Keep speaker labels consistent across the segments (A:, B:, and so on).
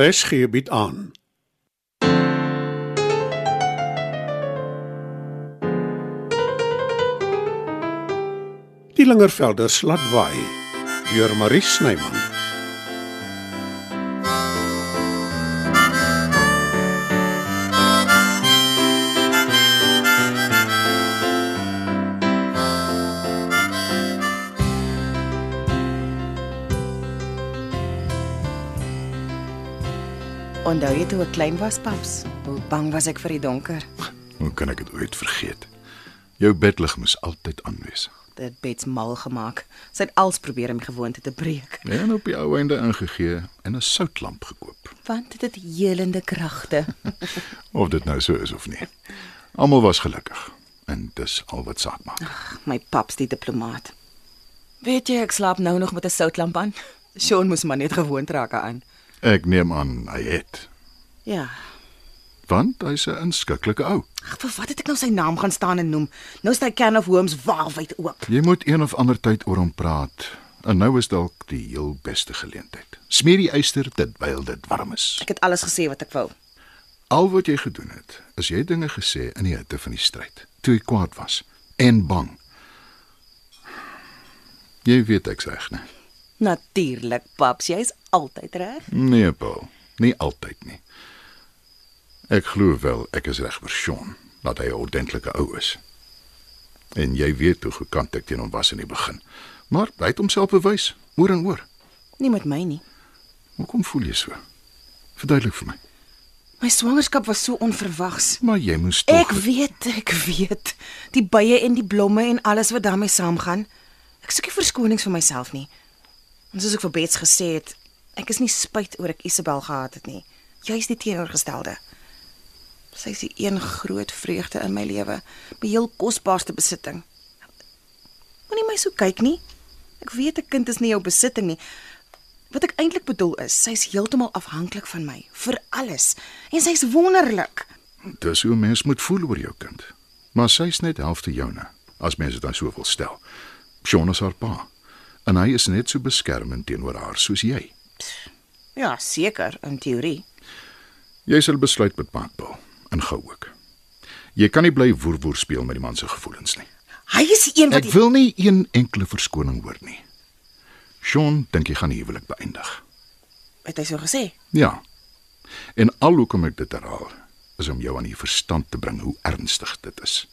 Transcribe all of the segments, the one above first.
A: RSG bied aan. Die Lingervelders laat waai deur Marie Snyman.
B: Onthou jy toe ek klein was, paps? Hoe bang was ek vir die donker?
C: Hoe kan ek dit ooit vergeet? Jou bedlig moes altyd aan wees.
B: Dit bets mal gemaak. Sy het als probeer om die gewoonte te breek,
C: Ja, En op die ou einde ingegee en 'n soutlamp gekoop.
B: want dit het helende kragte.
C: Of dit nou so is of nie. Almal was gelukkig en dis al wat saak maak.
B: My paps die diplomaat. Weet jy, ek slaap nou nog met 'n soutlamp aan. Sean moes maar net gewoond raak aan.
C: Ek neem aan hy het,
B: Ja.
C: want hy's 'n inskikkelike ou.
B: Ag, vir wat het ek nou sy naam gaan staan en noem? Nou staan Can of Worms waarwyd oop.
C: Jy moet een of ander tyd oor hom praat. En nou is dalk die heel beste geleentheid. Smeer die yster terwyl dit warm is.
B: Ek het alles gesê wat ek wou.
C: Al wat jy gedoen het, is jy het dinge gesê in die hitte van die stryd, toe jy kwaad was en bang. Jy weet ek's reg, né?
B: Natuurlik, paps, jy's altyd reg.
C: Nee, Paul, nie altyd nie. Ek glo wel ek is reg vir Sean, dat hy 'n ordentlike ou is. En jy weet hoe gekant ek teen hom was in die begin. Maar hy het homself bewys, oor en oor.
B: Nie met my nie.
C: Hoekom voel jy so? Verduidelik vir my.
B: My swangerskap was so onverwags.
C: Maar jy moes tog
B: Ek weet, ek weet. Die bye en die blomme en alles wat daarmee saamgaan. Ek soek nie verskonings vir myself nie. Ons soos ek vir Bets gesê het, ek is nie spyt oor ek Isabel gehad het nie. Juist die teenoorgestelde. Sy is die een groot vreugde in my lewe, my heel kosbaarste besitting. Moenie my so kyk nie. Ek weet 'n kind is nie jou besitting nie. Wat ek eintlik bedoel is, sy's heeltemal afhanklik van my vir alles en sy's wonderlik.
C: Dis hoe 'n mens moet voel oor jou kind. Maar sy's net helfte joune, as mense dit dan so wil stel. Sean is haar pa en hy is net so beskermend teenoor haar soos jy.
B: Ja, seker in teorie.
C: Jy sal besluit met Paul en gou ook. Jy kan nie bly woerwoer speel met die man se gevoelens nie.
B: Hy is die een wat
C: Ek
B: die...
C: wil nie een enkele verskoning hoor nie. Sean dink jy gaan die huwelik beëindig.
B: het hy so gesê.
C: Ja. En al hoekom ek dit herhaal, is om jou aan die verstand te bring hoe ernstig dit is.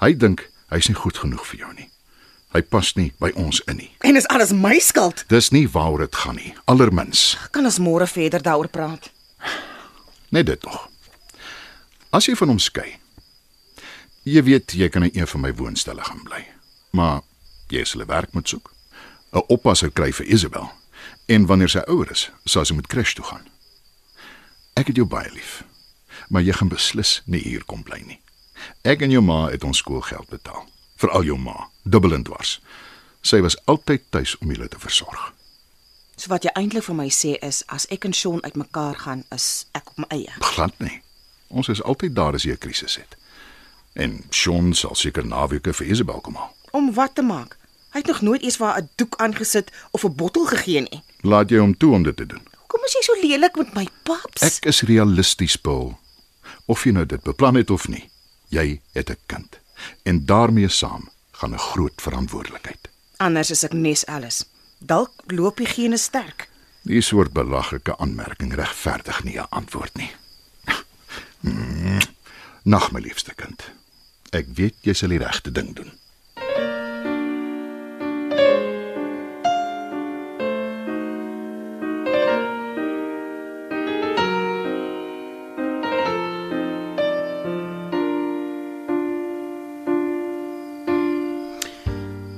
C: Hy dink hy's nie goed genoeg vir jou nie. Hy pas nie by ons in nie.
B: En is alles my skuld.
C: Dis nie waaroor dit gaan nie, allermins.
B: Kan ons môre verder daaroor praat?
C: Net dit nog. As jy van hom skei, jy weet jy kan in een van my woonstelle gaan bly. Maar jy sal 'n werk moet soek. 'n Oppasser kry vir Isabel. En wanneer sy ouer is, sal sy moet crash toe gaan. Ek het jou baie lief. Maar jy gaan beslis nie hier kom bly nie. Ek en jou ma het ons skoolgeld betaal, veral jou ma, dubbel en dwars. Sy was altyd tuis om julle te versorg.
B: So wat jy eintlik vir my sê is as ek en Sean uitmekaar gaan, is ek op my eie.
C: Glad nie. Ons is altyd daar as jy 'n krisis het. En Sean sal seker naweke vir Isabel kom haal.
B: Om wat te maak? Hy het nog nooit eers vir haar 'n doek aangesit of 'n bottel gegee nie.
C: Laat jy hom toe om dit te doen.
B: Hoekom is jy so lelik met my paps?
C: Ek is realisties, Paul. Of jy nou dit beplan het of nie, jy het 'n kind. En daarmee saam gaan 'n groot verantwoordelikheid.
B: Anders is ek nes alles. Dalk loop die gene sterk.
C: Die soort belaglike aanmerking regverdig nie 'n antwoord nie. Mm. Nag my liefste kind. Ek weet jy sal die regte ding doen.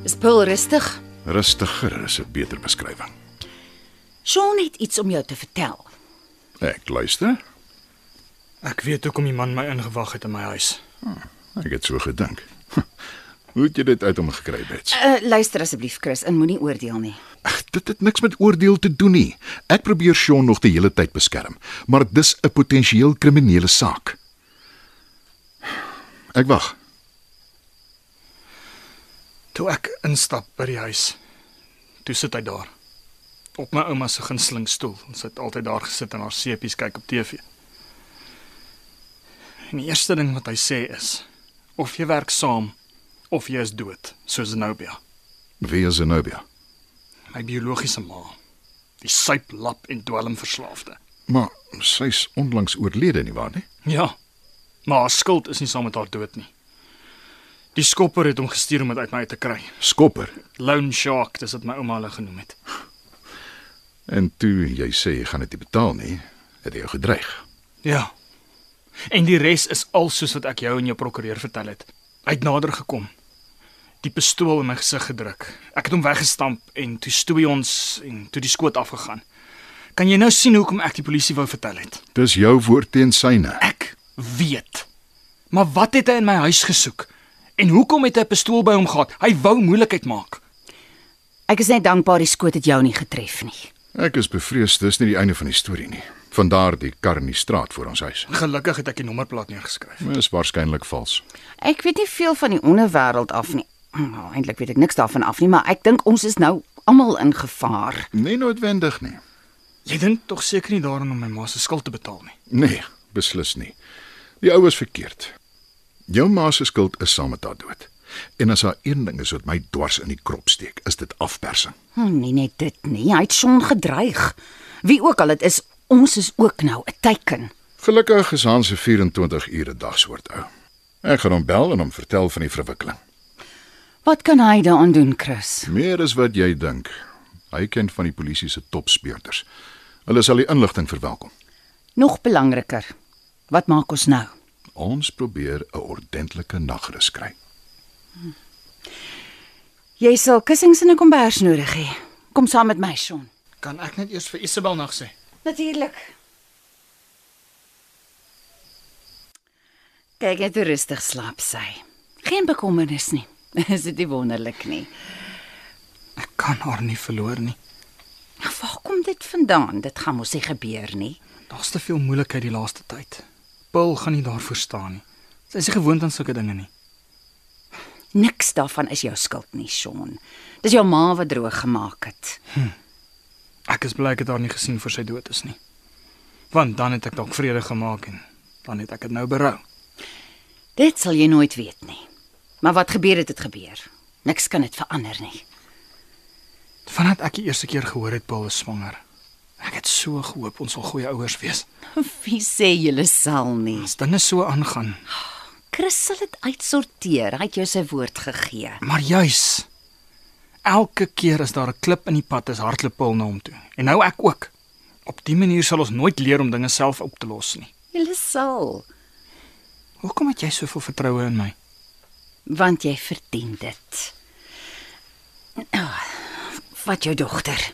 D: Is Paul rustig?
C: Rustiger is 'n beter beskrywing.
D: Sean het iets om jou te vertel.
C: Ek luister.
E: Ek weet hoekom die man my ingewag het in my huis.
C: Ek het so gedink. Hoe het jy dit uit hom gekry, Bets?
D: Uh luister asseblief Chris, en moenie oordeel nie.
C: Ag, dit het niks met oordeel te doen nie. Ek probeer Sean nog die hele tyd beskerm, maar dis 'n potensieel kriminele saak. Ek wag.
E: Toe ek instap by die huis, toe sit hy daar. op my ouma se gunsteling stoel. Ons het altyd daar gesit en haar seepies kyk op TV. En die eerste ding wat hy sê is: "Of jy werk saam of jy is dood," soos Zenobia,
C: Wie is Zenobia?
E: my biologiese ma, die suiplap en dwelmverslaafde.
C: Maar sy's onlangs oorlede nie waar nie?
E: Ja. Maar haar skuld is nie saam met haar dood nie. Die skopper het hom gestuur om dit uit my uit te kry.
C: Skopper.
E: Loan shark, dis wat my ouma hulle genoem het.
C: En toe jy sê jy gaan dit nie betaal nie, het hy jou gedreig.
E: Ja. En die res is al soos wat ek jou en jou prokureur vertel het. Hy het nader gekom. Die pistool in my gesig gedruk. Ek het hom weggestamp en toe stoei ons en toe die skoot afgegaan. Kan jy nou sien hoekom ek die polisie wou vertel het?
C: Dis jou woord teen syne.
E: Ek weet. Maar wat het hy in my huis gesoek? En hoekom het hy 'n pistool by hom gehad? Hy wou moeilikheid maak.
D: Ek is net dankbaar die skoot het jou nie getref nie.
C: Ek is bevrees dis nie die einde van die storie nie. Van daardie kar in die straat voor ons huis.
E: Gelukkig het ek die nommerplaat neergeskryf.
C: Is waarskynlik vals.
D: Ek weet nie veel van die onderwêreld af nie. Nou, eintlik weet ek niks daarvan af nie, maar ek dink ons is nou almal in gevaar.
C: Nee noodwendig nie.
E: Jy dink tog seker nie daaraan om my ma se skuld te betaal nie.
C: Nee, beslis nie. Die ou is verkeerd. Jou ma se skuld is saam met haar dood. En as haar een ding is wat my dwars in die krop steek, is dit afpersing.
D: Oh, nee, net dit nie. Hy het Sean gedreig. Wie ook al dit is, ons is ook nou 'n teiken.
C: Gelukkig is Hans se 24 ure dag soort ou. Ek gaan hom bel en hom vertel van die verwikkeling.
D: Wat kan hy daaraan doen, Chris?
C: Meer as wat jy dink. Hy ken van die polisie se topspeurders. Hulle sal die inligting verwelkom.
D: Nog belangriker. Wat maak ons nou?
C: Ons probeer 'n ordentlike nagrus kry.
D: Jy sal kussings en 'n kombers nodig hê. Kom saam met my, Sean.
E: Kan ek net eers vir Isabel nog sê?
D: Natuurlik. Kyk net hoe rustig slaap sy. Geen bekommernis nie. Is dit nie wonderlik nie?
E: Ek kan haar nie verloor nie.
D: Nou, waar kom dit vandaan? Dit gaan mos nie gebeur nie.
E: Daar's te veel moeilikheid die laaste tyd. Paul gaan nie daarvoor staan nie. Sy is nie gewoond aan sulke dinge nie.
D: Niks daarvan is jou skuld nie, Sean. Dis jou ma wat droog gemaak het.
E: Ek is bly ek het haar nie gesien voor sy dood is nie. Want dan het ek dalk vrede gemaak en dan het ek dit nou berou.
D: Dit sal jy nooit weet nie. Maar wat gebeur het, het gebeur. Niks kan dit verander nie.
E: Vandat ek die eerste keer gehoor het Paul is swanger. Ek het so gehoop ons sal goeie ouers wees.
D: Wie sê julle sal nie?
E: As dinge so aangaan,
D: Chris sal dit uitsorteer. Hy het jou sy woord gegee.
E: maar juis elke keer as daar 'n klip in die pad is, hardloop Paul na hom toe. En nou ek ook. Op dié manier sal ons nooit leer om dinge self op te los nie.
D: Julle sal,
E: Hoekom het jy soveel vertroue in my?
D: want jy verdien dit. Oh, wat jou dogter.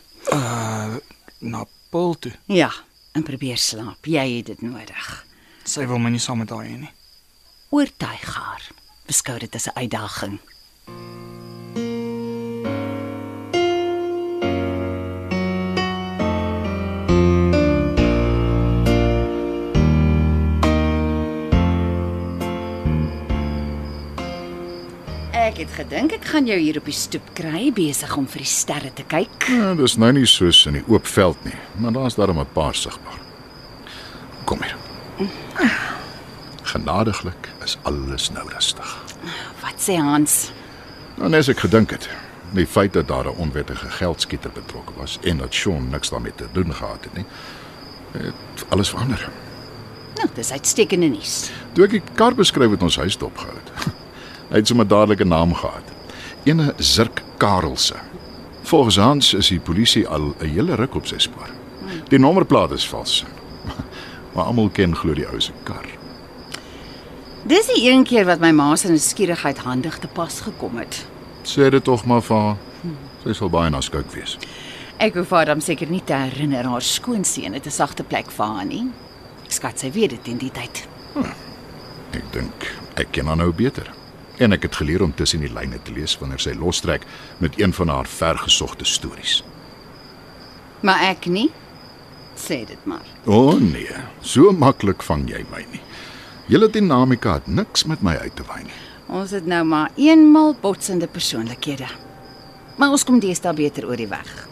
E: Na Paul toe.
D: Ja, en probeer slaap. Jy het dit nodig.
E: Sy wil my nie saam met haar hê nie.
D: Oortuig haar. Beskou dit as 'n uitdaging. Ek het gedink ek gaan jou hier op die stoep kry besig om vir die sterre te kyk.
C: Ja, dis nou nie soos in die oop veld nie, maar daar's daarom 'n paar sigbaar. Kom hier. Genadiglik is alles nou rustig.
D: Wat sê Hans?
C: Nou net as ek gedink het, die feit dat daar 'n onwettige geldskieter betrokke was en dat Sean niks daarmee te doen gehad het nie, het alles verander.
D: Nou, dis uitstekende nuus.
C: Toe ek die kar beskryf het ons huis dopgehou het. Hy het sommer dadelik 'n naam gehad. Ene Zirk Karelse. Volgens Hans is die polisie al 'n hele ruk op sy spoor. Die nommerplaat is vals. Maar almal ken glo die ou se kar.
D: Dis die een keer wat my ma se nuuskierigheid handig te pas gekom het.
C: Sê dit tog maar vir haar. Sy sal baie naskouk wees.
D: Ek hoef haar dan seker nie te herinner haar skoonseun het 'n sagte plek vir haar nie. Ek skat sy weet dit in die tyd.
C: Ek dink ek ken haar nou beter. En ek het geleer om tussen die lyne te lees wanneer sy lostrek met een van haar vergesogte stories.
D: Maar ek nie. Sê dit maar.
C: O oh, nee, so maklik vang jy my nie. Julle dinamika het niks met my uit te wy nie.
D: Ons het nou maar eenmal botsende persoonlikhede. Maar ons kom deesdae beter oor die weg.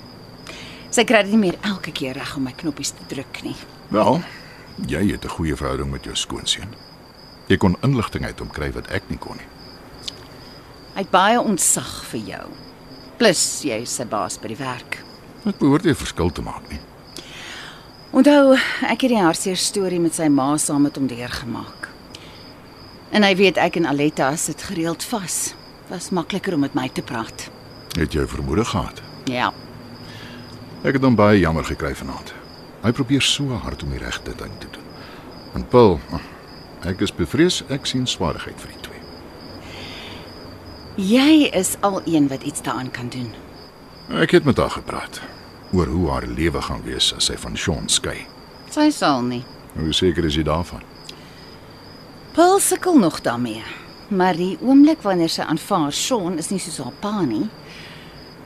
D: Sy kry dit nie meer elke keer reg om my knoppies te druk nie.
C: Wel, jy het 'n goeie verhouding met jou skoonseun. Jy kon inligting uit hom kry wat ek nie kon nie.
D: Hy het baie ontsag vir jou. Plus jy is sy baas by die werk.
C: Dit behoort nie 'n verskil te maak nie.
D: Onthou, ek het die hartseer storie met sy ma saam met hom deurgemaak. En hy weet ek en Aletta sit gereeld vas. Was makliker om met my te praat.
C: Het jy vermoede gehad?
D: Ja.
C: Ek het hom baie jammer gekry vanaand. Hy probeer so hard om die regte ding te doen. En Paul, ek is bevrees ek sien swaarheid vir die twee.
D: Jy is al een wat iets daaraan kan doen.
C: Ek het met haar gepraat oor hoe haar lewe gaan wees as sy van Sean skei.
D: Sy sal nie.
C: Hoe seker is jy daarvan?
D: Paul sukkel nog daarmee. Maar die oomblik wanneer sy aanvaar Sean is nie soos haar pa nie,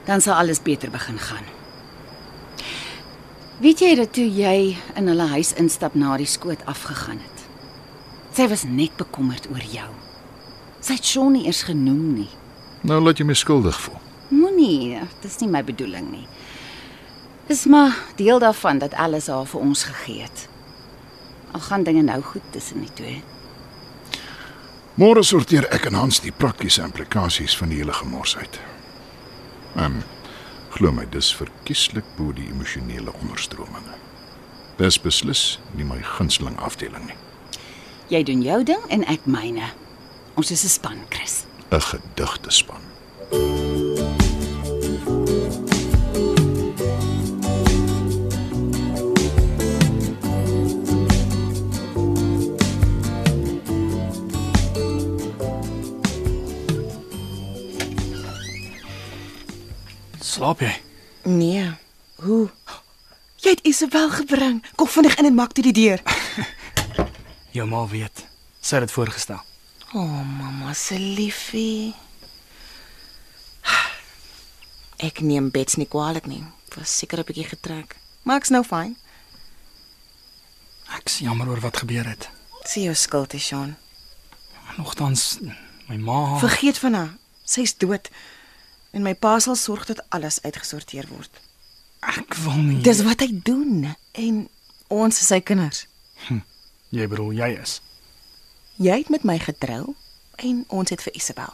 D: dan sal alles beter begin gaan. Weet jy dat toe jy in hulle huis instap na die skoot afgegaan het? Sy was net bekommerd oor jou. Sy het Sean nie eers genoem nie.
C: Nou laat jy my skuldig voel.
D: Moenie, dis nie my bedoeling nie. Dis maar deel daarvan dat alles haar vir ons gegee het. Al gaan dinge nou goed tussen die twee.
C: Môre sorteer ek en Hans die praktiese implikasies van die hele gemors uit. Ehm glo my, dis verkieslik bo die emosionele onderstrominge. Dis beslis nie my gunsteling afdeling nie.
D: Jy doen jou ding en ek myne. Ons is 'n span, Chris.
C: 'n Gedigte span.
E: Slaap jy?
B: Nee. Hoe? Jy het Isabel gebring. Kom vinnig in en maak toe die deur.
E: Jou ma weet. Sy het dit voorgestel.
B: O, oh, mamma se liefie. Ek neem bets nie kwaadlik nie. Ek was seker 'n bietjie getrek. Maar ek's nou fyn.
E: Ek's jammer oor wat gebeur het.
B: Sien jou skuld, Sean.
E: Nogtans my ma
B: Vergeet van haar. Sy's dood. En my pa sal sorg dat alles uitgesorteer word.
E: ek wil nie.
B: Dis wat hy doen en ons is sy kinders.
E: Jy bedoel jy is.
B: Jy het met my getrou en ons het vir Isabel.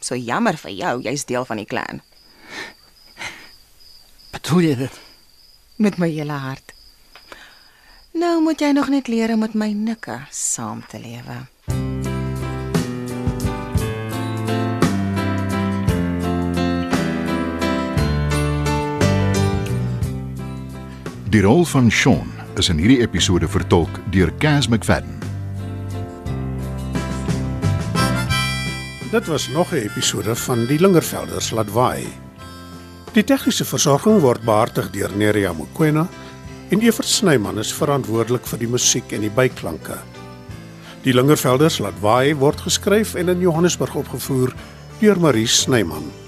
B: So jammer vir jou, jy's deel van die klan.
E: Bedoel jy dit?
B: met my hele hart. Nou moet jy nog net leer om met my nikke saam te lewe.
C: Die rol van Sean is in hierdie episode vertolk deur Cas McFadden.
A: Dit was nog 'n episode van Die Lingervelders laat waai. Die tegniese versorging word behartig deur Neriya Mkwena en Evert Snyman is verantwoordelik vir die musiek en die byklanke. Die Lingervelders laat waai word geskryf en in Johannesburg opgevoer deur Marie Snyman.